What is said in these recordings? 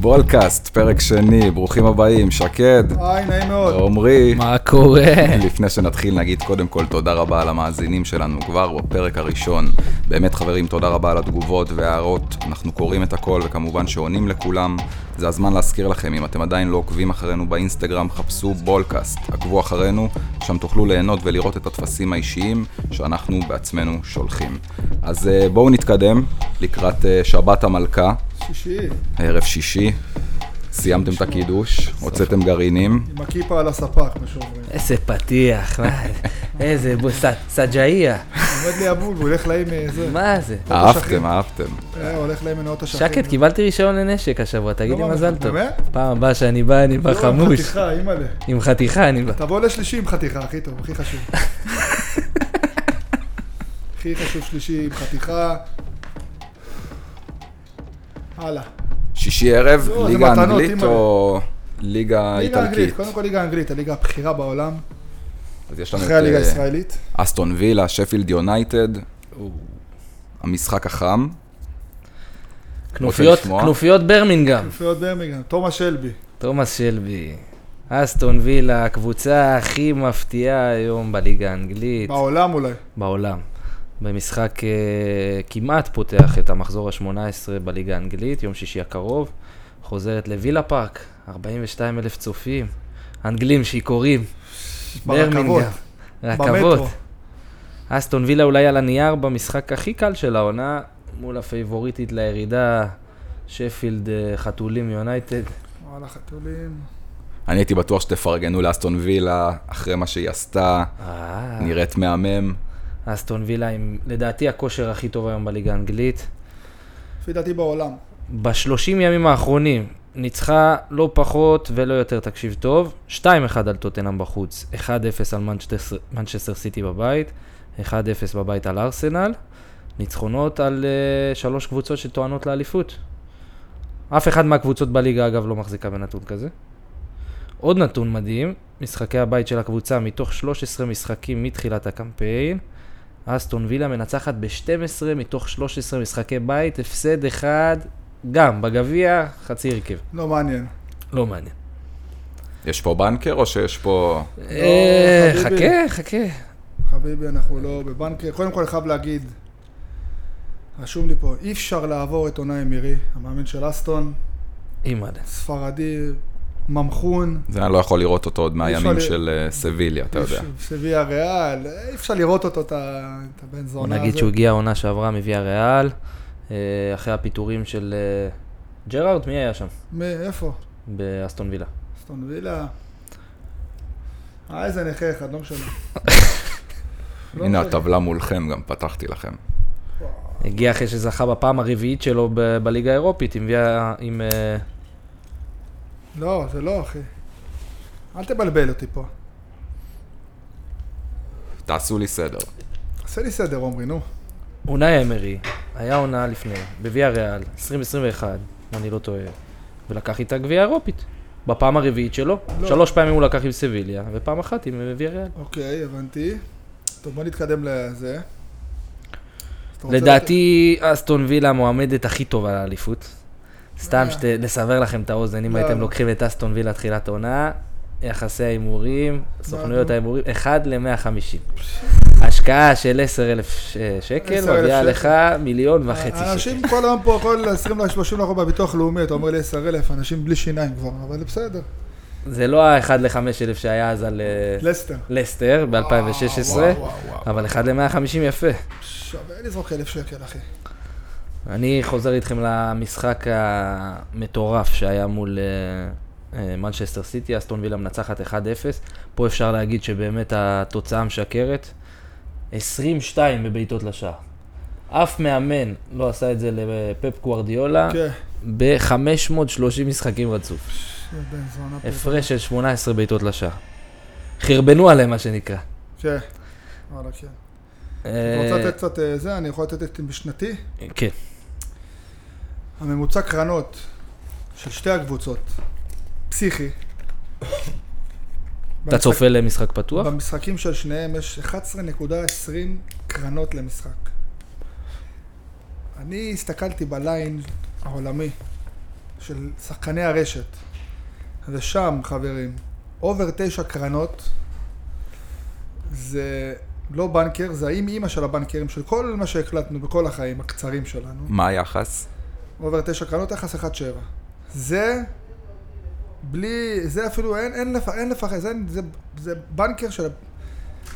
בולקאסט, פרק שני, ברוכים הבאים, שקד, היי, נעים מאוד. עמרי. מה קורה? לפני שנתחיל נגיד קודם כל תודה רבה על המאזינים שלנו כבר בפרק הראשון. באמת חברים, תודה רבה על התגובות וההערות, אנחנו קוראים את הכל וכמובן שעונים לכולם. זה הזמן להזכיר לכם, אם אתם עדיין לא עוקבים אחרינו באינסטגרם, חפשו בולקאסט, עקבו אחרינו, שם תוכלו ליהנות ולראות את הטפסים האישיים שאנחנו בעצמנו שולחים. אז אה, בואו נתקדם לקראת אה, שבת המלכה, שישי, ערב שישי. סיימתם את הקידוש, הוצאתם גרעינים. עם הכיפה על הספק, מה שאומרים. איזה פתיח, מה זה? איזה בו- ס- סג'איה, עומד לי אבול והוא הולך להם איזה... מה זה? אהבתם, אהבתם. אה, הולך להם מנאות השכן. שקד, קיבלתי רישיון לנשק השבוע, תגיד לי לא מזל מאמין, טוב. באמת? פעם הבאה שאני בא, אני בא לא, חמוש. חתיכה, אימא'לה. עם חתיכה אני בא. תבוא לשלישי עם חתיכה, הכי טוב, הכי חשוב. הכי חשוב שלישי עם חתיכה. הלאה. שישי ערב, לא, זה ליגה מתנות, אנגלית אימא'לה. או ליגה ליגה איטלקית? אנגלית, קודם כל ליגה אנגלית, הליגה הבכירה בעולם, אז יש לנו את אחרי הליגה אה, הישראלית. אסטון וילה, שפילד יונייטד, המשחק החם. כנופיות, לשמוע? כנופיות ברמינגהם. יפיות ברמיגן, תומאס שלבי. תומאס שלבי, אסטון וילה, הקבוצה הכי מפתיעה היום בליגה האנגלית, בעולם אולי. בעולם. במשחק אה, כמעט פותח את המחזור ה-18 בליגה האנגלית, יום שישי הקרוב. חוזרת לווילה פארק, 42 אלף צופים, אנגלים שיכורים, ברכבות. ברמינגהם, רכבות. במטרו. אסטון וילה אולי על הנייר במשחק הכי קל של העונה, מול הפייבוריטית לירידה, שפילד אה, חתולים יונייטד. וואלה, חתולים. אני הייתי בטוח שתפרגנו לאסטון וילה אחרי מה שהיא עשתה, אה, נראית מהמם. אסטון וילה עם, לדעתי, הכושר הכי טוב היום בליגה האנגלית. לפי דעתי בעולם. בשלושים ימים האחרונים ניצחה לא פחות ולא יותר, תקשיב טוב, 2-1 על טוטנאם בחוץ, 1-0 על מנצ'סטר- מנצ'סטר סיטי בבית, 1-0 בבית על ארסנל, ניצחונות על uh, שלוש קבוצות שטוענות לאליפות. אף אחד מהקבוצות בליגה אגב לא מחזיקה בנתון כזה. עוד נתון מדהים, משחקי הבית של הקבוצה מתוך 13 משחקים מתחילת הקמפיין, אסטון וילה מנצחת ב-12 מתוך 13 משחקי בית, הפסד אחד גם בגביע, חצי הרכב. לא מעניין. לא מעניין. יש פה בנקר או שיש פה... אה, לא, חביבי. חכה, חכה. חביבי, אנחנו לא בבנקר. קודם כל, אני חייב להגיד, רשום לי פה, אי אפשר לעבור את עונה אמירי, המאמן של אסטון, אימא'לה. ספרדי, ממחון, זה אני לא יכול לראות אותו עוד מהימים אפשר ל- של אה, סביליה, אתה יודע. סביה ריאל, אי אפשר לראות אותו, את ה- את הבן בוא זונה הזה. נגיד שהוא הגיע העונה שעברה מוויה ריאל, אה, אחרי הפיטורים של אה, ג'רארד, מי היה שם? מאיפה? באסטון וילה. אסטון וילה. אה, איזה נכה אחד, לא משנה. לא הנה משנה. הטבלה מולכם, גם פתחתי לכם. הגיע אחרי שזכה בפעם הרביעית שלו ב- בליגה האירופית עם ויה... עם... אה, לא, זה לא, אחי. אל תבלבל אותי פה. תעשו לי סדר. עשה לי סדר, עומרי, נו. אונאי אמרי היה עונה לפני, בוויה ריאל, 2021, אם אני לא טועה, ולקח איתה גביע אירופית. בפעם הרביעית שלו, לא. שלוש פעמים הוא לקח עם סביליה, ופעם אחת עם וויה ריאל. אוקיי, הבנתי. טוב, בוא נתקדם לזה. אז אתה רוצה לדעתי, אסטון וילה המועמדת הכי טובה לאליפות. סתם אה. שת- לסבר לכם את האוזן, אם לא, הייתם לא. לוקחים את אסטון וילה תחילת עונה, יחסי ההימורים, סוכנויות אתה- ההימורים, 1 ל-150. השקעה של 10,000 שקל 10,000 מביאה שקל. לך מיליון לתת- וחצי שקל. אה, אנשים כל היום פה, כל 20 ל-30 אנחנו בביטוח לאומי, אתה אומר לי 10,000, אנשים בלי שיניים כבר, אבל בסדר. זה לא ה-1 ל-5,000 שהיה אז על אה, לסטר. לסטר ב-2016, וואו, וואו, וואו. אבל 1 ל-150 יפה. שווה לזרוק 1,000 שקל, אחי. אה. אני חוזר איתכם למשחק המטורף שהיה מול אה, אה, מנצ'סטר סיטי, אסטון וילה מנצחת 1-0. פה אפשר להגיד שבאמת התוצאה משקרת. 22 בבעיטות לשער. אף מאמן לא עשה את זה לפפ גוורדיולה כן, ב-530 משחקים רצוף. זה בן זונה פה. הפרש של 18 בעיטות לשער. חרבנו עליהם, מה שנקרא. כן. וואלה, כן. אתה אה, רוצה לתת קצת אה, זה? אני יכול לתת את משנתי? כן. הממוצע קרנות של שתי הקבוצות, פסיכי. אתה במשחק- צופה למשחק פתוח? במשחקים של שניהם יש 11.20 קרנות למשחק. אני הסתכלתי בליין העולמי של שחקני הרשת. ושם, חברים, אובר תשע קרנות, זה לא בנקר, זה האם אימא של הבנקרים, של כל מה שהקלטנו בכל החיים הקצרים שלנו. מה היחס? אובר תשע קרנות, יחס 1-7. זה, בלי, זה אפילו, אין, אין, לפ, אין לפחד, זה, זה, זה בנקר של...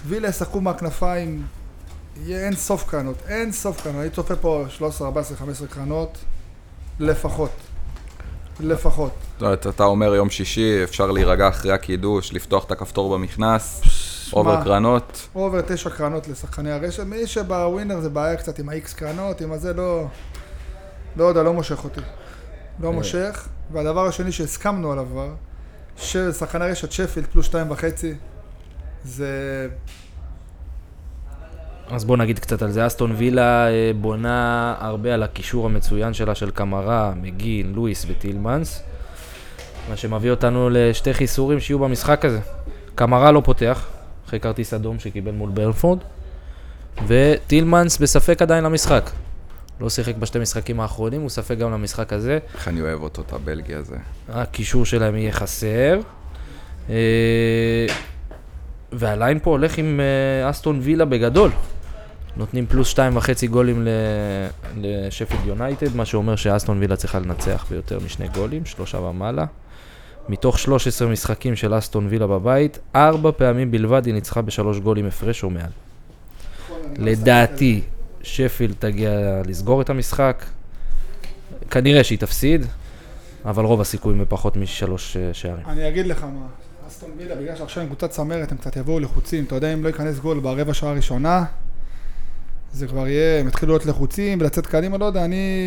וילה ישחקו מהכנפיים, יהיה אין סוף קרנות, אין סוף קרנות. אני צופה פה 13, 14, 15 קרנות, לפחות. לפחות. זאת אומרת, אתה אומר יום שישי, אפשר להירגע אחרי הקידוש, לפתוח את הכפתור במכנס, מה? אובר קרנות. אובר תשע קרנות לשחקני הרשת, מי שבווינר זה בעיה קצת עם ה-X קרנות, עם הזה לא... לא יודע, לא מושך אותי. לא מושך. והדבר השני שהסכמנו עליו כבר, ששחקני הרשת שפילד פלוס שתיים וחצי, זה... אז בוא נגיד קצת על זה. אסטון וילה אה, בונה הרבה על הקישור המצוין שלה של קמרה, מגין, לואיס וטילמנס, מה שמביא אותנו לשתי חיסורים שיהיו במשחק הזה. קמרה לא פותח, אחרי כרטיס אדום שקיבל מול ברנפורד, וטילמנס בספק עדיין למשחק. לא שיחק בשתי משחקים האחרונים, הוא ספק גם למשחק הזה. איך אני אוהב אותו, את הבלגי הזה. הקישור שלהם יהיה חסר. אה, והליין פה הולך עם אה, אסטון וילה בגדול. נותנים פלוס שתיים וחצי גולים ל- לשפילד יונייטד, מה שאומר שאסטון וילה צריכה לנצח ביותר משני גולים, שלושה ומעלה. מתוך 13 משחקים של אסטון וילה בבית, ארבע פעמים בלבד היא ניצחה בשלוש גולים הפרש או מעל. לדעתי, שפילד תגיע לסגור את המשחק. כנראה שהיא תפסיד, אבל רוב הסיכויים בפחות משלוש אה, שערים. אני אגיד לך מה, אסטון וילה, בגלל שעכשיו הם קבוצת צמרת, הם קצת יבואו לחוצים, אתה יודע, אם לא ייכנס גול ברבע שעה הראשונה, זה כבר יהיה, הם יתחילו להיות לחוצים ולצאת קדימה, לא יודע, אני...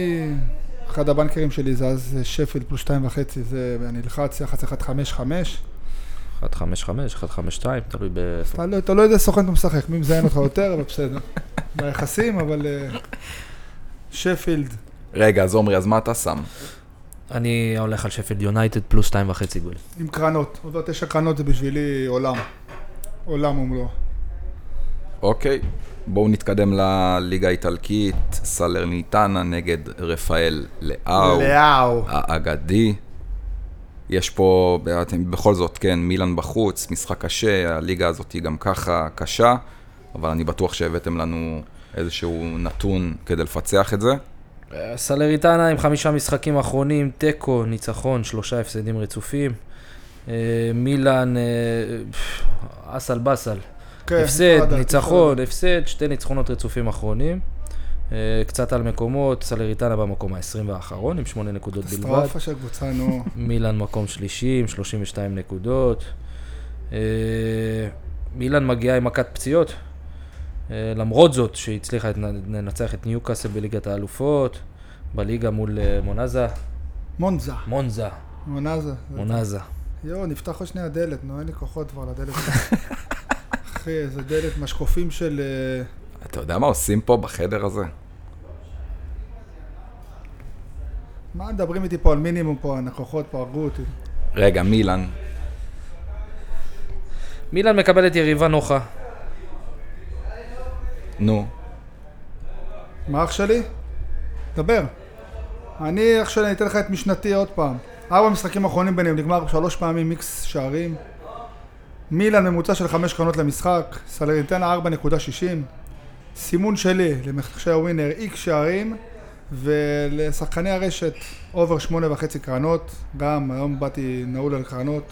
אחד הבנקרים שלי זה אז שפל פלוס שתיים וחצי, זה, אני אלחץ יחס 1-5-5, 1-5-5, 1-5-2, תלוי באיפה. אתה לא- אתה לא יודע סוכן אתה משחק, מי מזיין אותך יותר, אבל בסדר, ביחסים, אבל אה, שפילד, רגע, אז עומרי, אז מה אתה שם? אני הולך על שפילד יונייטד פלוס שתיים וחצי גול. עם קרנות, עובר תשע קרנות זה בשבילי עולם, עולם ומלואו. אוקיי, בואו נתקדם לליגה האיטלקית, סלרניטנה נגד רפאל לאהו, לאהו. האגדי. יש פה, אתם- בכל זאת, כן, מילאן בחוץ, משחק קשה, הליגה הזאת היא גם ככה קשה, אבל אני בטוח שהבאתם לנו איזשהו נתון כדי לפצח את זה. אה, סלריטנה עם חמישה משחקים אחרונים, תיקו, ניצחון, שלושה הפסדים רצופים. אה, מילאן, אה, אסל באסל. כן, הפסד, נפרד, ניצחון, הפסד, שתי ניצחונות רצופים אחרונים. אה, קצת על מקומות, סלריטנה במקום ה-20 והאחרון עם שמונה נקודות בלבד. סטרפה של קבוצה, נו. מילאן מקום שלישי עם 32 נקודות. אה, מילאן מגיעה עם מכת פציעות, אה, למרות זאת שהיא הצליחה את- לנצח את ניוקאסל בליגת האלופות, בליגה מול אה, מונזה, מונזה. מונזה, מונזה. מונזה. יואו, נפתח עוד שנייה הדלת, נו, אין לי כוחות כבר לדלת. אחי, איזה דלת משקופים של... אה, אתה יודע מה עושים פה בחדר הזה? מה מדברים איתי פה על מינימום פה, הנכוחות פה הרגו אותי. רגע, מילאן, מילאן מקבלת יריבה נוחה, נו, מה אח שלי? דבר. אני, אח שלי, אני אתן לך את משנתי עוד פעם. ארבע משחקים האחרונים ביניהם נגמר שלוש פעמים מיקס שערים. מילן ממוצע של חמש קרנות למשחק, סלרניטנה 4.60. סימון שלי למחשי הווינר איקס שערים, ולשחקני הרשת אובר שמונה וחצי קרנות. גם היום באתי נעול על קרנות.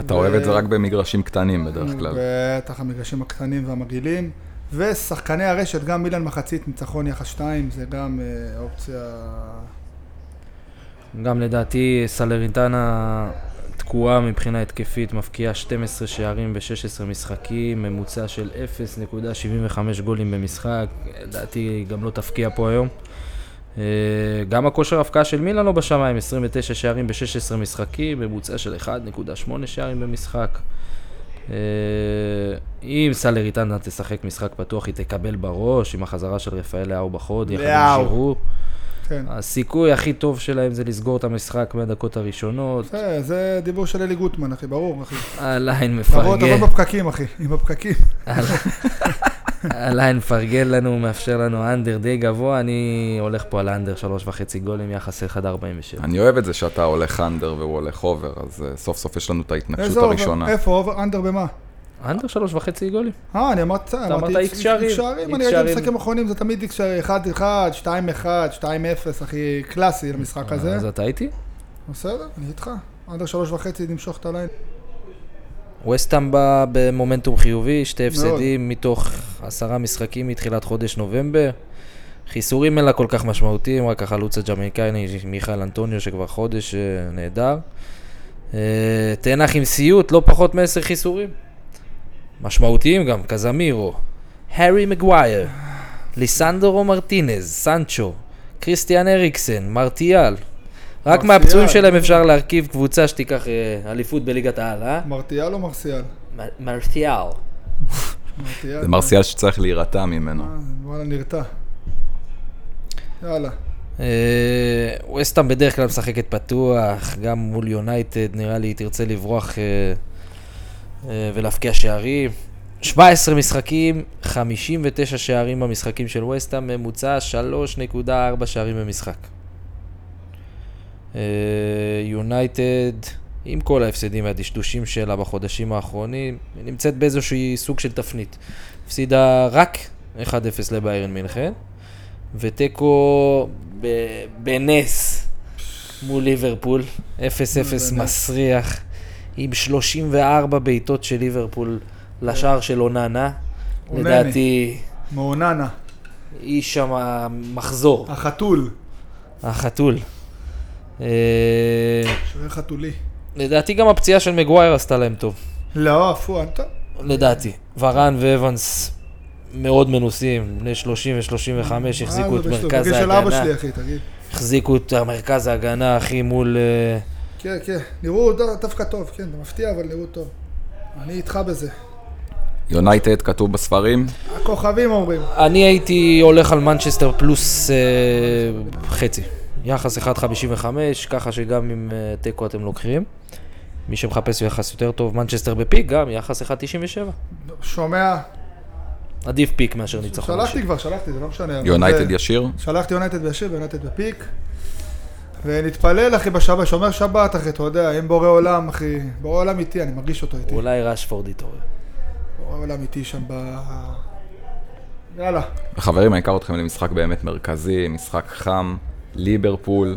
אתה ו- אוהב את זה רק במגרשים קטנים בדרך כלל. Mm, בטח המגרשים הקטנים והמגעילים. ושחקני הרשת, גם מילן מחצית, ניצחון יחס 2, זה גם אה, אופציה... גם לדעתי סלרינטנה תקועה מבחינה התקפית, מבקיעה 12 שערים ב-16 משחקים, ממוצע של 0.75 גולים במשחק, לדעתי היא גם לא תפקיע פה היום. אה, גם הכושר ההפקעה של מילאן לא בשמיים, 29 שערים ב-16 משחקים, ממוצע של 1.8 שערים במשחק. אה, אם סלריטנה תשחק משחק פתוח, היא תקבל בראש עם החזרה של רפאל לאהו בחוד, יחד עם לאהו. שירו. כן. הסיכוי הכי טוב שלהם זה לסגור את המשחק מהדקות הראשונות. זה, אה, זה דיבור של אלי גוטמן, אחי, ברור, אחי. הליין תבוא, תבוא מפרגן. בפקקים, אחי, עם הפקקים. עליין מפרגן לנו, מאפשר לנו אנדר די גבוה, אני הולך פה על אנדר שלוש וחצי גולים, יחס 1.47. אני אוהב את זה שאתה הולך אנדר והוא הולך אובר, אז אה, סוף סוף יש לנו את ההתנגשות איזה אובר? הראשונה. איפה אובר? אנדר במה? אנדר שלוש וחצי גולים. אה, אני אמרתי, אמרת איקס X שערים. X שערים, אני הייתי שערים. משחקים אחרונים, זה תמיד איקס שערים, 1-1, 2-1, 2-0, הכי קלאסי למשחק אה, הזה. אז אתה איתי? בסדר, אני איתך. אנדר שלוש וחצי, נמשוך את הליין. ווסטאם בא במומנטום חיובי, שתי מאוד. הפסדים מתוך עשרה משחקים מתחילת חודש נובמבר. חיסורים אין לה כל כך משמעותיים, רק החלוץ הג'מייקני מיכאל אנטוניו שכבר חודש אה, נהדר. אה, תנח עם סיוט, לא פחות מעשר חיסורים. משמעותיים גם, קזמירו, הארי מגווייר, ליסנדרו מרטינז, סנצ'ו, קריסטיאן הריקסן, מרטיאל. רק מרטיאל. מהפצועים שלהם אפשר להרכיב קבוצה שתיקח אה, אליפות בליגת העל, אה? מרטיאל או מרסיאל? מ- מרטיאל. מרטיאל. זה מרסיאל שצריך להירתע ממנו. אה, וואלה, נרתע. יאללה. אה, ווסטהאם בדרך כלל משחקת פתוח, גם מול יונייטד נראה לי היא תרצה לברוח אה, אה, ולהבקיע שערים. 17 משחקים, 59 שערים במשחקים של ווסטהאם, ממוצע 3.4 שערים במשחק. אה, יונייטד, עם כל ההפסדים והדשדושים שלה בחודשים האחרונים, נמצאת באיזשהו סוג של תפנית. הפסידה רק 1-0 לביירן מינכן, ותיקו ב- בנס מול ליברפול, 0-0 בנס. מסריח, עם 34 בעיטות של ליברפול אה. לשער של אוננה. אוננה. לדעתי, מאוננה, איש שם המחזור, אה. החתול. החתול. אה, שוער חתולי. לדעתי גם הפציעה של מגווייר עשתה להם טוב. לא, עפו, אתה... לדעתי. ורן ואבנס מאוד מנוסים, בני 30 ו-35, החזיקו אה, את זה בשטות. מרכז בגיל של אבא ההגנה. שלי, אחי, תגיד. החזיקו את מרכז ההגנה, אחי, מול... אה, כן, כן. נראו ד- דווקא טוב, כן, זה מפתיע, אבל נראו טוב. אני איתך בזה. יונייטד כתוב בספרים, הכוכבים אומרים. אני הייתי הולך על מנצ'סטר פלוס אה, חצי. יחס 1.55, ככה שגם עם אה, תיקו אתם לוקחים. מי שמחפש יחס יותר טוב, מנצ'סטר בפיק, גם יחס 1.97. שומע? עדיף פיק מאשר ניצחון. שלחתי כבר, שלחתי, זה לא משנה. אבל יונייטד זה- ישיר, שלחתי יונייטד בישיר ויונייטד בפיק. ונתפלל, אחי, בשבת, שומר שבת, אחי, אתה יודע, אם בורא עולם, אחי, בורא עולם איתי, אני מרגיש אותו איתי. אולי רשפורד יתעורר. בורא עולם איתי שם ב... יאללה. וחברים, אני אקח אתכם למשחק באמת מרכזי, משחק חם, ליברפול,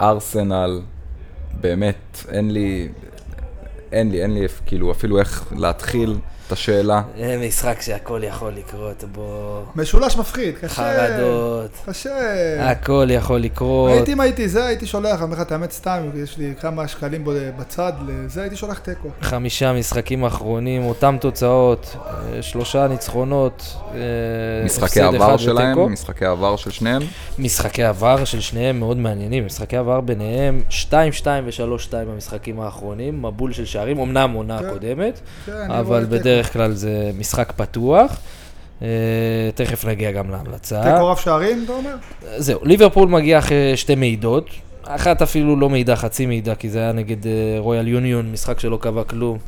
ארסנל, באמת, אין לי, אין לי, אין לי אפ- כאילו אפילו איך להתחיל את השאלה. זה משחק שהכל יכול לקרות בו. משולש מפחיד, קשה. חרדות. קשה. הכל יכול לקרות. הייתי אם הייתי זה, הייתי שולח, אני אומר לך את האמת סתם, יש לי כמה שקלים ב- בצד, לזה הייתי שולח תיקו. חמישה משחקים אחרונים, אותם תוצאות, אה, שלושה ניצחונות, אה, משחקי הפסד העבר אחד שלהם, ותיקו. משחקי העבר של שניהם, משחקי עבר של שניהם מאוד מעניינים, משחקי עבר ביניהם 2-2 ו-3-2 במשחקים האחרונים, מבול של שערים, אמנם עונה כן. הקודמת, כן, אני רואה אבל תיקו. בדרך כלל זה משחק פתוח. אה, תכף נגיע גם להמלצה. תיקו רב שערים, אתה אומר? זהו, ליברפול מגיע אחרי שתי מעידות. אחת אפילו לא מעידה, חצי מעידה, כי זה היה נגד אה, רויאל יוניון, משחק שלא קבע כלום.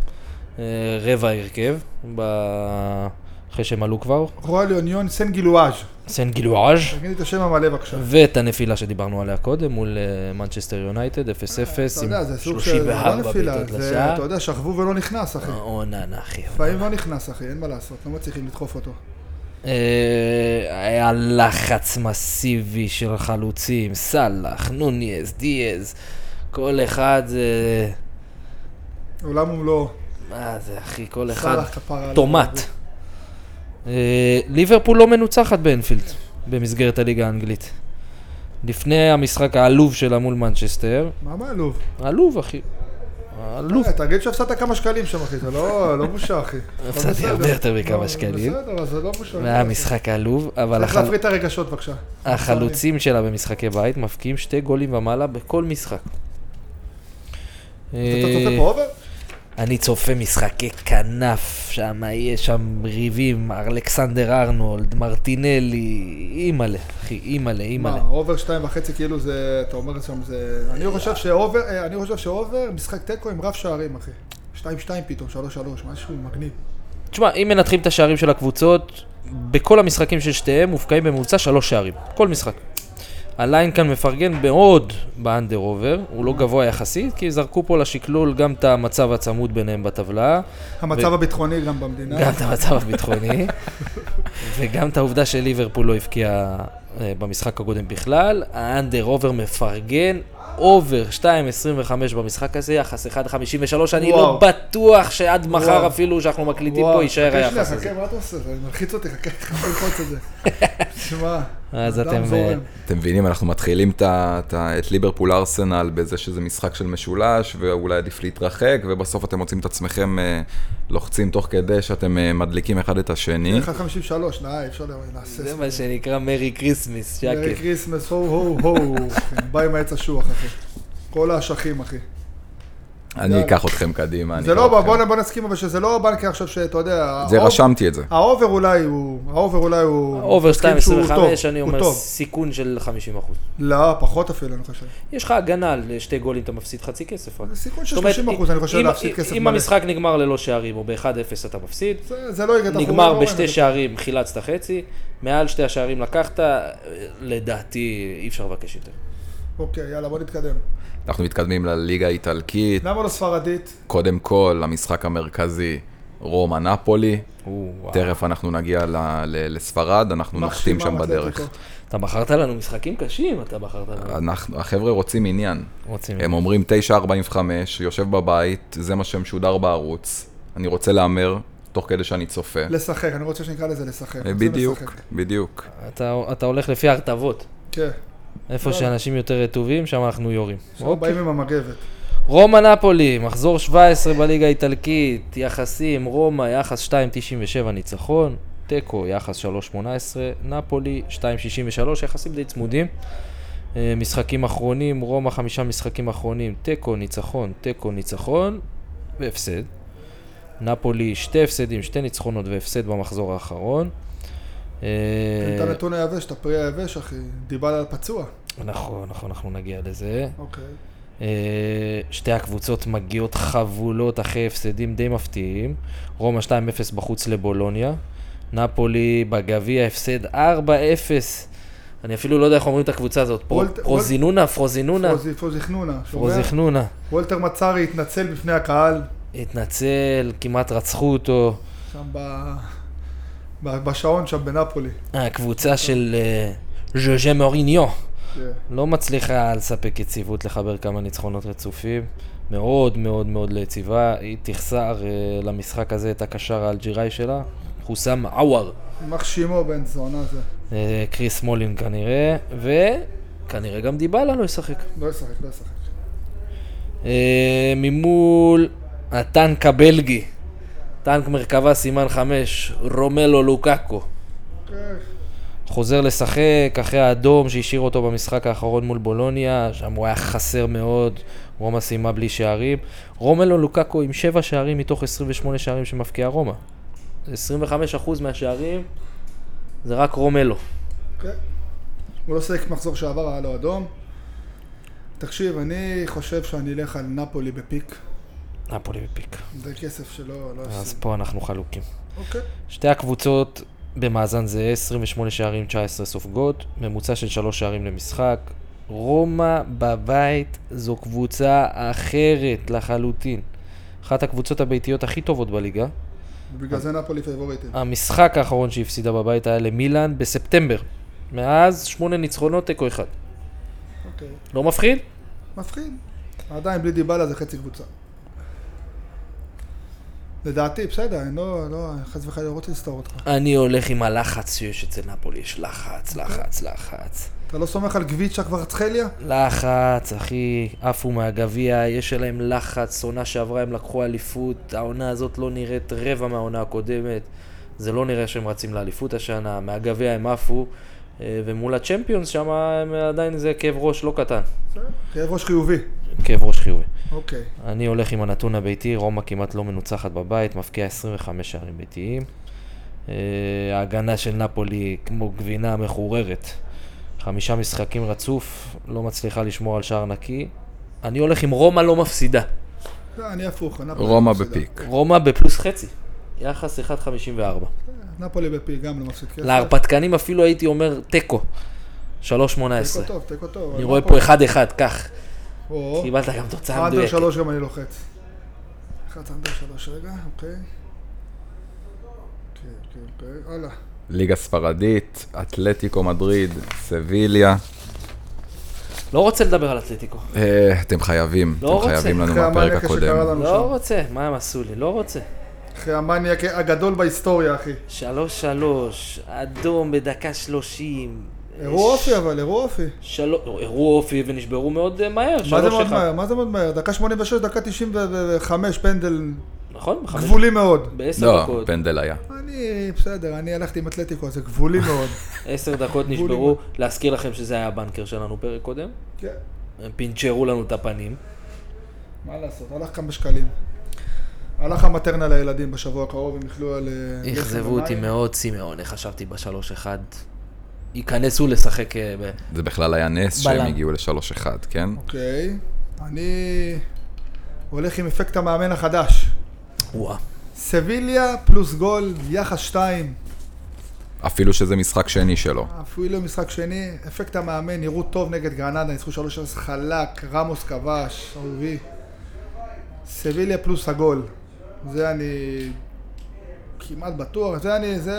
אה, רבע הרכב, ב- אחרי שהם עלו כבר. רועל יוניון סן גילואז'. סן גילואז' תגיד לי את השם המלא בבקשה. ואת הנפילה שדיברנו עליה קודם מול אה, מנצ'סטר יונייטד, 0-0 אה, אתה עם יודע, זה סוג של... זה לא 34 נפילה, בעיטות זה- לשער. אתה יודע, שכבו ולא נכנס, אחי. אוננה, אחי. לפעמים לא נכנס, אחי, אין מה לעשות, לא מצליחים לדחוף אותו. אה, היה לחץ מסיבי של חלוצים, סאלח, נוניז, דיאז, כל אחד אה, עולם ומלואו. מה זה אחי, כל אחד סלח כפרה עליו. טומט. אה, ליברפול לא מנוצחת באנפילד במסגרת הליגה האנגלית. לפני המשחק העלוב שלה מול מנצ'סטר, מה מה עלוב? עלוב אחי, עלוב. אה, תגיד שהפסדת כמה שקלים שם, אחי, זה לא לא בושה, אחי. הכל הפסדתי בסדר. הרבה יותר מכמה לא, שקלים. בסדר, אז זה לא בושה. והיה משחק עלוב, אבל צריך החל- להפריד את הרגשות, בבקשה. החלוצים שלה במשחקי בית מבקיעים שתי גולים ומעלה בכל משחק. אתה אה, צופה פה אובר? אני צופה משחקי כנף, שם יהיה שם ריבים, אלכסנדר ארנולד, מרטינלי, אימא'לה, אחי, אימא'לה, מה, אימא'לה. אובר שתיים וחצי, כאילו זה, אתה אומר שם זה... אני חושב שאובר, אה, אני חושב שאובר, משחק תיקו עם רב שערים, אחי. שתיים שתיים פתאום, שלוש שלוש, משהו מגניב. תשמע, אם מנתחים את השערים של הקבוצות, בכל המשחקים של שתיהם מובקעים בממוצע שלוש שערים. כל משחק. הליין כאן מפרגן מאוד באנדר אובר, הוא לא גבוה יחסית, כי זרקו פה לשקלול גם את המצב הצמוד ביניהם בטבלה, המצב הביטחוני גם במדינה. גם את המצב הביטחוני, וגם את העובדה שליברפול לא הבקיע אה, במשחק הקודם בכלל. האנדר אובר מפרגן, אובר 2.25 במשחק הזה, יחס 1.53, אני לא וואו. בטוח שעד מחר וואו. אפילו שאנחנו מקליטים וואו, פה יישאר חכה שנייה, היחס הזה. חכה, מה אתה עושה? זה מלחיץ אותי, חכה, חכה ללחוץ את זה. תשמע, אז אדם אתם, אה, זורם. אתם מבינים, אנחנו מתחילים את, ה- את, ה- את ליברפול ארסנל בזה שזה משחק של משולש, ואולי עדיף להתרחק, ובסוף אתם מוצאים את עצמכם אה, לוחצים תוך כדי שאתם אה, מדליקים אחד את השני. 1.53, די, אפשר להסס. אה, זה מה שנקרא מרי כריסמס, מרי שקט. כריסמס, הו הו הו, כן, בא עם העץ אשוח, אחי. כל האשכים, אחי. אני אקח אתכם קדימה. אני זה אקח לא, בוא- אתכם. בוא בוא נסכים, אבל שזה לא בנקר עכשיו שאתה יודע, זה האוב- רשמתי את זה. האובר אולי הוא, האובר אולי הוא... אובר מסכים שהוא 2.25, טוב, אני הוא אומר טוב. סיכון של 50%. לא, פחות אפילו, אני חושב. יש לך הגנה על שתי גולים, אתה מפסיד חצי כסף רק. זה סיכון של זאת אומרת, 30 אחוז, אני חושב, אם- להפסיד כסף אם מלא. המשחק נגמר ללא שערים, או ב-1-0 אתה מפסיד, זה- זה לא יגד החומה. נגמר בשתי שערים, חילצת חצי, מעל שתי השערים לקחת, אה, לדעתי אי אפשר לבקש יותר. אוקיי, יאללה, בוא נתקדם. אנחנו מתקדמים לליגה האיטלקית, למה לא ספרדית? קודם כל, המשחק המרכזי, רומא נפולי. או, וואו. תכף אנחנו נגיע ל- ל- לספרד, אנחנו נחתים שם מרשימה, בדרך. אתלטיקו. אתה בחרת לנו משחקים קשים, אתה בחרת לנו. אנחנו, החבר'ה רוצים עניין. רוצים. אה, כן. הם אומרים 9.45, יושב בבית, זה מה שמשודר בערוץ. אני רוצה להמר, תוך כדי שאני צופה. אה, לשחק, אני רוצה שנקרא לזה לשחק. אה, זה בדיוק, לשחק. בדיוק. אתה אתה הולך לפי ההרטבות. כן, איפה שאנשים יותר רטובים, שם אנחנו יורים. אנחנו באים עם המגבת. רומא נפולי, מחזור 17 בליגה האיטלקית, יחסים, רומא, יחס 2.97 ניצחון, תיקו, יחס 3.18, נפולי, 2.63, יחסים די צמודים. אה, משחקים אחרונים, רומא חמישה משחקים אחרונים, תיקו, ניצחון, תיקו, ניצחון, והפסד. נפולי, שתי הפסדים, שתי ניצחונות והפסד במחזור האחרון. אה, את הנתון היבש, את הפרי היבש, אחי. דיבלה פצוע. נכון, נכון, אנחנו נגיע לזה. אוקיי. אה, שתי הקבוצות מגיעות חבולות אחרי הפסדים די מפתיעים. רומא 2-0 בחוץ לבולוניה. נפולי בגביע הפסד 4-0. אני אפילו לא יודע איך אומרים את הקבוצה הזאת. פרו- וולט- פרוזינונה, פרוזינונה, פרוזי- פרוזיכנונה, שומע? פרוזיכנונה. וולטר מצארי התנצל בפני הקהל, התנצל, כמעט רצחו אותו. שם ב- ב- בשעון שם בנפולי. הקבוצה של אה, ז'וז'ה מוריניו כן. לא מצליחה לספק יציבות, לחבר כמה ניצחונות רצופים. מאוד מאוד מאוד ליציבה. היא תחסר אה, למשחק הזה את הקשר האלג'יראי שלה, חוסם עוואר. מחשימו בן זונה זה. אה, קריס מולין כנראה, וכנראה גם דיבלה לא ישחק. לא ישחק, לא ישחק. אה, ממול הטנק הבלגי, טנק מרכבה סימן 5, רומלו לוקקו. כן. חוזר לשחק אחרי האדום שהשאיר אותו במשחק האחרון מול בולוניה, שם הוא היה חסר מאוד, רומא סיימה בלי שערים. רומלו לוקקו עם 7 שערים מתוך 28 שערים שמבקיעה רומא. 25% מהשערים זה רק לא. רומלו. כן. הוא לא שיחק מחזור שעבר, היה לו אדום. תקשיב, אני חושב שאני אלך על נפולי בפיק. נפולי בפיק. זה כסף שלא... לא אז יפסיד. פה אנחנו חלוקים. אוקיי. שתי הקבוצות במאזן זהה, 28 שערים, 19 סופגות, ממוצע של 3 שערים למשחק. רומא בבית זו קבוצה אחרת לחלוטין. אחת הקבוצות הביתיות הכי טובות בליגה. ובגלל זה נפולי פייבוריטים. אה. המשחק האחרון שהפסידה בבית היה למילאן בספטמבר. מאז 8 ניצחונות, תיקו אחד. אוקיי. לא מפחיד? מפחיד. עדיין בלי דיבלה זה חצי קבוצה. לדעתי, בסדר, אני לא, לא, חס וחלילה, לא רוצה לסתור אותך. אני הולך עם הלחץ שיש אצל נפולי, יש לחץ, לחץ, לחץ. אתה לא סומך על גביצ'ה כבר צחליה? לחץ, אחי, עפו מהגביע, יש עליהם לחץ, עונה שעברה הם לקחו אליפות, העונה הזאת לא נראית רבע מהעונה הקודמת, זה לא נראה שהם רצים לאליפות השנה, מהגביע הם עפו, אה, ומול הצ'מפיונס שם הם עדיין זה כאב ראש לא קטן, כאב ראש חיובי. כאב ראש חיובי. אוקיי. אני הולך עם הנתון הביתי, רומא כמעט לא מנוצחת בבית, מפקיע 25 שערים ביתיים. אה, ההגנה של נפולי כמו גבינה מחוררת. חמישה משחקים רצוף, לא מצליחה לשמור על שער נקי. אני הולך עם רומא לא מפסידה. לא, אני הפוך. אני הפוך, רומא בסדר. בפיק. רומא בפלוס חצי. יחס 1.54. נפולי בפי גם לא מפסיד כסף. להרפתקנים אפילו הייתי אומר תיקו, 3.18. תיקו טוב, תיקו טוב. לא אני רואה פה 1-1, קח. פה, קיבלת גם תוצאה אנדר מדויקת. שלוש גם אני לוחץ. לחץ אנדר שלוש רגע, אוקיי. אוקיי, אוקיי, אוקיי, הלאה. ליגה ספרדית, אתלטיקו מדריד, סביליה. לא רוצה לדבר על אתלטיקו. אה, אתם חייבים, לא אתם רוצה. חייבים לנו אחרי מהפרק המאניקה שקרה הקודם. לנו לא שם. רוצה, מה הם עשו לי? לא רוצה. אחרי המאניאק הגדול בהיסטוריה, אחי. שלוש שלוש, אדום בדקה שלושים. אירוע אופי אבל, אירוע אופי. שלו... הראו אופי ונשברו מאוד אה, מהר, מה זה שלוש מאוד אחד. מהר? מה זה מאוד מהר? דקה 86, דקה 95, פנדל נכון? בחמש... גבולי מאוד. בעשר לא, דקות, פנדל היה. אני, בסדר, אני הלכתי עם אתלטיקו, זה גבולי מאוד. עשר דקות נשברו. להזכיר לכם שזה היה הבנקר שלנו פרק קודם. כן, הם פינצ'רו לנו את הפנים. מה לעשות, הלך כמה שקלים. הלך המטרנה לילדים בשבוע הקרוב, הם יכלו על... אה, אכזבו לחם אותי ומים. מאוד סימאונה, חשבתי בשלוש אחד. ייכנסו לשחק אה, ב... זה בכלל היה נס שהם בלם. הגיעו ל-3-1, כן? אוקיי, אני הולך עם אפקט המאמן החדש. וואה. סביליה פלוס גול, יחס 2, אפילו שזה משחק שני שלו. אפילו לא משחק שני, אפקט המאמן, נראו טוב נגד גרנדה, ניצחו 3-0 חלק, רמוס כבש, אהובי. סביליה פלוס הגול, זה אני כמעט בטוח, זה אני, זה,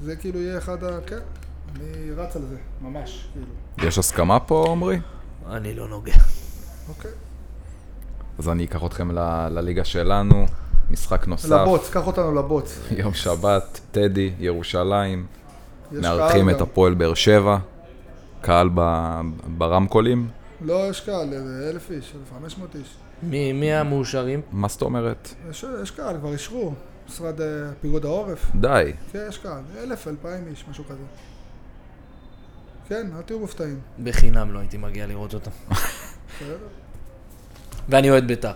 זה כאילו יהיה אחד ה... כן, אני רץ על זה, ממש, כאילו. יש הסכמה פה, עמרי? אני לא נוגע. אוקיי. אז אני אקח אתכם ל- לליגה שלנו, משחק נוסף, לבוץ, קח אותנו לבוץ. יום שבת, טדי, ירושלים, יש מארחים קהל את גם. הפועל באר שבע, קהל ב- ברמקולים, לא, יש קהל, איזה אלף איש, אלף חמש מאות איש. מי מי המאושרים? מה זאת אומרת? יש, יש קהל, כבר אישרו. משרד אה, פיגוד העורף. די, כן, יש קהל. אלף, אלפיים איש, משהו כזה. כן, אל תהיו מופתעים. בחינם לא הייתי מגיע לראות אותם. בסדר? ואני אוהד בית"ר.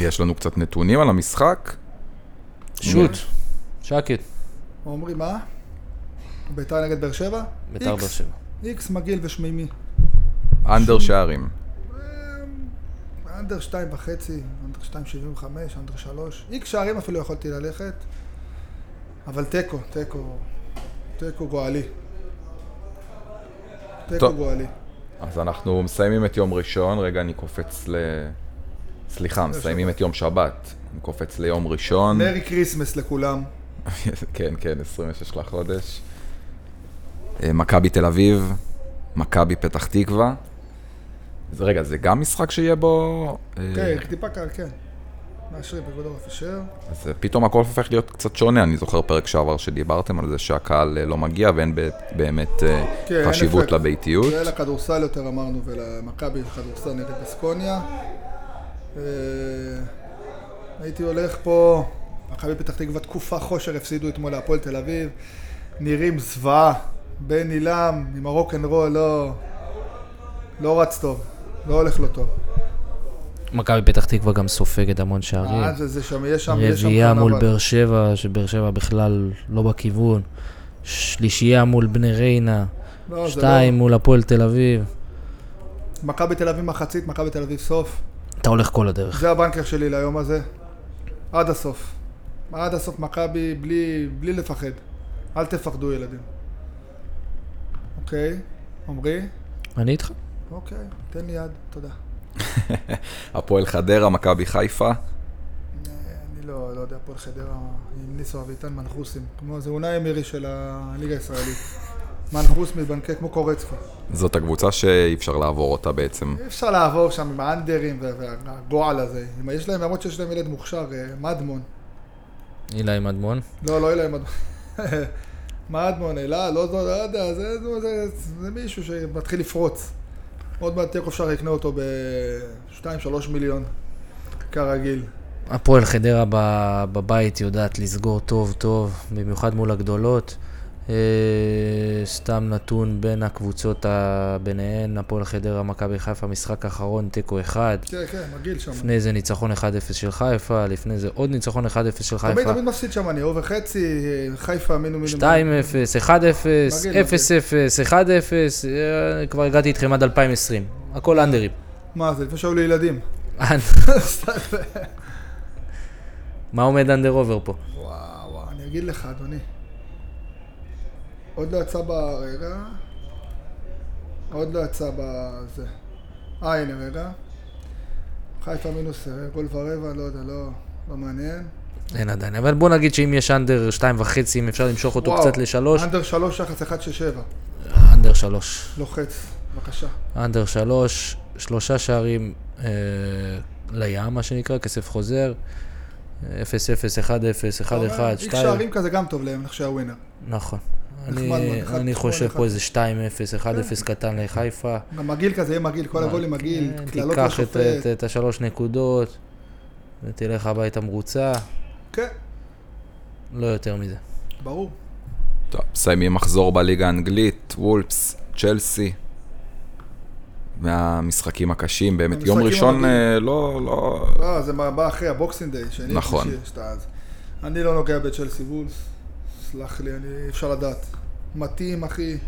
יש לנו קצת נתונים על המשחק. שוט. שקט. עומרי, מה? ביתר נגד באר שבע? בית"ר איקס. באר שבע. איקס מגעיל ושמימי. אנדר שערים. אנדר שתיים וחצי, אנדר שתיים שבעים וחמש, אנדר שלוש. איקס שערים אפילו יכולתי ללכת. אבל תיקו, תיקו. תיקו גואלי. תיקו טוב. גואלי. אז אנחנו מסיימים את יום ראשון, רגע אני קופץ ל... סליחה, מסיימים את יום שבת. אני קופץ ליום ראשון. מרי כריסמס לכולם. כן, כן, 26 לחודש. אה, מכבי תל אביב, מכבי פתח תקווה. אז רגע, זה גם משחק שיהיה בו... אה, כן, טיפה קל, כן. מאשרים פיקוד העורף אישר. אז אה, פתאום הכל הופך להיות קצת שונה. אני זוכר פרק שעבר שדיברתם על זה שהקהל אה, לא מגיע ואין ב- באמת אה, כן, אין חשיבות אפקט. לביתיות. זה לכדורסל יותר אמרנו, ולמכבי זה כדורסל נגד בסקוניה. אה, הייתי הולך פה, מכבי פתח תקווה תקופה חושר, הפסידו אתמול להפועל תל אביב. נראים זוועה. בן עילם עם הרוקנרול לא... לא רץ טוב. לא הולך לו טוב. מכבי פתח תקווה גם סופגת המון שערים. אה, זה, זה שם, יש שם, יש שם רביעייה מול קרנבל. באר שבע, שבאר שבע בכלל לא בכיוון. שלישייה מול בני ריינה. לא, זה שתיים מול הפועל תל אביב. לא. מכבי תל אביב מחצית, מכבי תל אביב סוף. אתה הולך כל הדרך. זה הבנקר שלי ליום הזה. עד הסוף. עד הסוף מכבי בלי, בלי לפחד. אל תפחדו ילדים. אוקיי? עמרי? אני איתך. אוקיי, תן לי יד, תודה. הפועל חדרה, מכבי חיפה. אה, אני לא, לא יודע, הפועל חדרה עם ניסו אביטן מנחוסים. כמו זה אונאי אמירי של הליגה הישראלית. מנחוס מבנקי כמו קורצקי. זאת הקבוצה שאי אפשר לעבור אותה בעצם. אי אפשר לעבור שם עם האנדרים וה- והגועל הזה. אם יש להם, למרות שיש להם ילד מוכשר, אה, מדמון. אילי מדמון. לא, לא אילן מדמון. מה אדמון, אלה, לא זו, לא יודע, זה, זה, זה, זה מישהו שמתחיל לפרוץ. עוד מעט תיקו אפשר לקנות אותו ב-2-3 מיליון, כרגיל. הפועל חדרה ב- בבית יודעת לסגור טוב טוב, במיוחד מול הגדולות. אה, סתם נתון בין הקבוצות ה- ביניהן, הפועל חדרה, מכבי חיפה, משחק אחרון, תיקו אחד. כן, כן, מגעיל שם. לפני זה ניצחון 1-0 של חיפה, לפני זה עוד ניצחון 1-0 של תמיד, חיפה. תמיד מפסיד שם, אני אובר חצי, חיפה, מינו מינו. 2-0, 1-0, 0-0, מגעיל, 1-0, אה, כבר הגעתי איתכם עד 2020. הכל אנדרים. מה זה, לפני שהיו לי ילדים. סתם. מה עומד אנדר עובר פה? וואו, וואו, אני אגיד לך, אדוני. עוד לא יצא ב... רגע. עוד לא יצא בזה. אה, הנה, רגע. חיפה מינוס אה, גול ורבע, לא יודע, לא, לא מעניין. אין עדיין, אבל בוא נגיד שאם יש אנדר 2.5, אם אפשר למשוך אותו וואו, קצת לשלוש, אנדר שלוש, יחס 167. אנדר שלוש. לוחץ, בבקשה. אנדר שלוש, שלושה שערים אה, לים, מה שנקרא, כסף חוזר. 0-0, 1-0, 1-1, אתה אומר, איקס 2... שערים כזה גם טוב להם, נחשב הווינר. נכון. נחמד אני- מאוד, אחד אני כל חושב אחד. כן. פה איזה 2-0, 1-0 קטן לחיפה. גם מגעיל כזה, יהיה מגעיל, כל הגולים מגעיל, כן, קללות תיקח את- את- לשופט. את השלוש נקודות, ותלך הביתה מרוצה, כן, לא יותר מזה. ברור. טוב, מסיימים מחזור בליגה האנגלית, וולפס, צ'לסי. מהמשחקים הקשים, באמת. יום המשחקים ראשון הרגילים. אה, לא, לא... אה, זה מה- בא אחרי הבוקסינג דיי, שני נכון. שלישי, שאתה אז. אני לא נוגע בצ'לסי וולס, סלח לי, אני, אי אפשר לדעת. מתאים, אחי.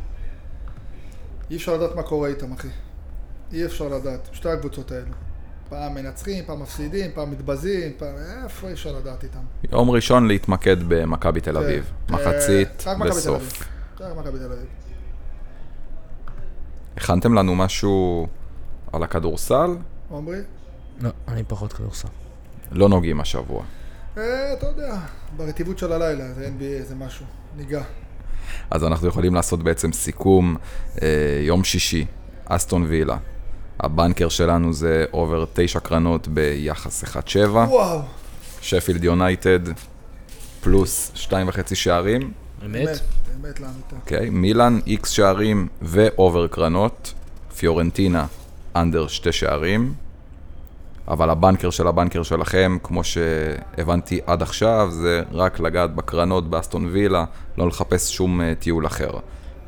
אי אפשר לדעת מה קורה איתם, אחי. אי אפשר לדעת, שתי הקבוצות האלו. פעם מנצחים, פעם מפסידים, פעם מתבזים, פעם... איפה אי אפשר לדעת איתם? יום ראשון להתמקד במכבי תל כן. אביב. אה, מחצית, רק מכבי תל בסוף. אביב. רק מכבי תל אביב. הכנתם לנו משהו על הכדורסל? עומרי? לא, אני פחות כדורסל. לא נוגעים השבוע. אה, אתה יודע, ברטיבות של הלילה, זה NBA, זה משהו. ניגע. אז אנחנו יכולים לעשות בעצם סיכום אה, יום שישי, אסטון וילה. הבנקר שלנו זה אובר תשע קרנות ביחס 1-7, וואו, שפילד יונייטד פלוס שתיים וחצי שערים, אמת? אמת, אמת לאמיתה. אוקיי, מילאן איקס שערים ואובר קרנות, פיורנטינה אנדר שתי שערים, אבל הבנקר של הבנקר שלכם, כמו שהבנתי עד עכשיו, זה רק לגעת בקרנות באסטון וילה, לא לחפש שום אה, טיול אחר.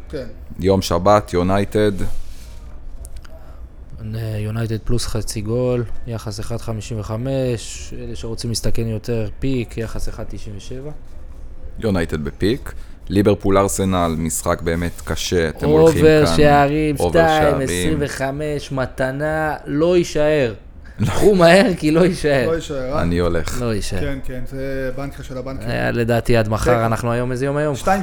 כן. יום שבת, יונייטד, אה, יונייטד פלוס חצי גול, יחס 1.55, אלה שרוצים להסתכן יותר פיק, יחס 1.97. יונייטד בפיק. ליברפול ארסנל, משחק באמת קשה, אתם הולכים כאן. אובר שערים, אובר 2, שערים. 25, מתנה, לא יישאר. קחו מהר כי לא יישאר. לא יישאר, אה? אני הולך. לא יישאר. כן, כן, זה בנקר של הבנקר. כן. היה לדעתי עד מחר, כן. אנחנו היום איזה יום היום? 2-2. היום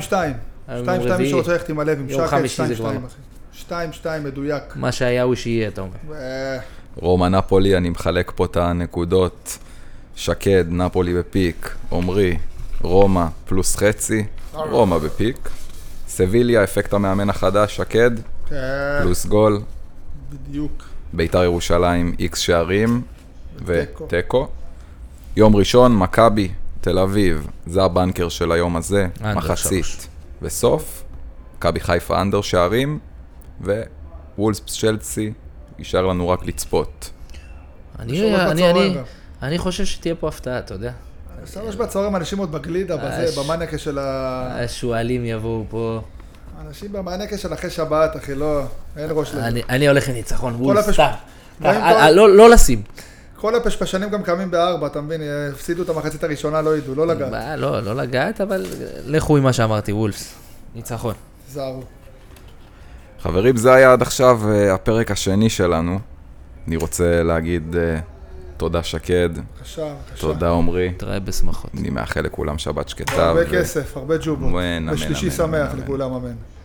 2-2 מי רביעי. שרוצה ללכת עם הלב, עם יום שקל, 2-2 חמישי זה כבר. אחי. 2-2 מדויק. מה שהיה הוא שיהיה, אתה אומר. אה, רומא נפולי, אני מחלק פה את הנקודות. שקד, נפולי בפיק, עמרי, רומא פלוס חצי, רומא בפיק. סביליה, אפקט המאמן החדש, שקד, כן, פלוס גול. בדיוק. ביתר ירושלים, איקס שערים ותיקו. ותיקו. יום ראשון, מכבי, תל אביב, זה הבנקר של היום הזה, אנדר מחצית שלוש. וסוף. מכבי חיפה אנדר שערים, ווולס צ'לסי, נשאר לנו רק לצפות. אני, שלוש אני, בצהריים אני, גם. אני חושב שתהיה פה הפתעה, אתה יודע. שלוש בצהריים אנשים עוד בגלידה, אה, ש- בזה, במאנקה של ה... השועלים יבואו פה. אנשים במאנקה של אחרי שבת, אחי, לא, אין ראש לזה. אני, אני הולך עם ניצחון, וול, הפש- סתם. גם אם אה, אה, כל- לא לא לשים. כל הפשפשנים גם קמים בארבע, אתה מבין? הפסידו את המחצית הראשונה, לא ידעו, לא לגעת. אה, לא, לא לגעת, אבל לכו עם מה שאמרתי, וולס. ניצחון. זהרו. חברים, זה היה עד עכשיו אה, הפרק השני שלנו. אני רוצה להגיד אה, תודה שקד, בבקשה, בבקשה. תודה עמרי. נתראה בשמחות. אני מאחל לכולם שבת שקטה. הרבה ו- כסף, הרבה ג'ובות. אמן, אמן, ושלישי אמן, שמח אמן. לכולם, אמן.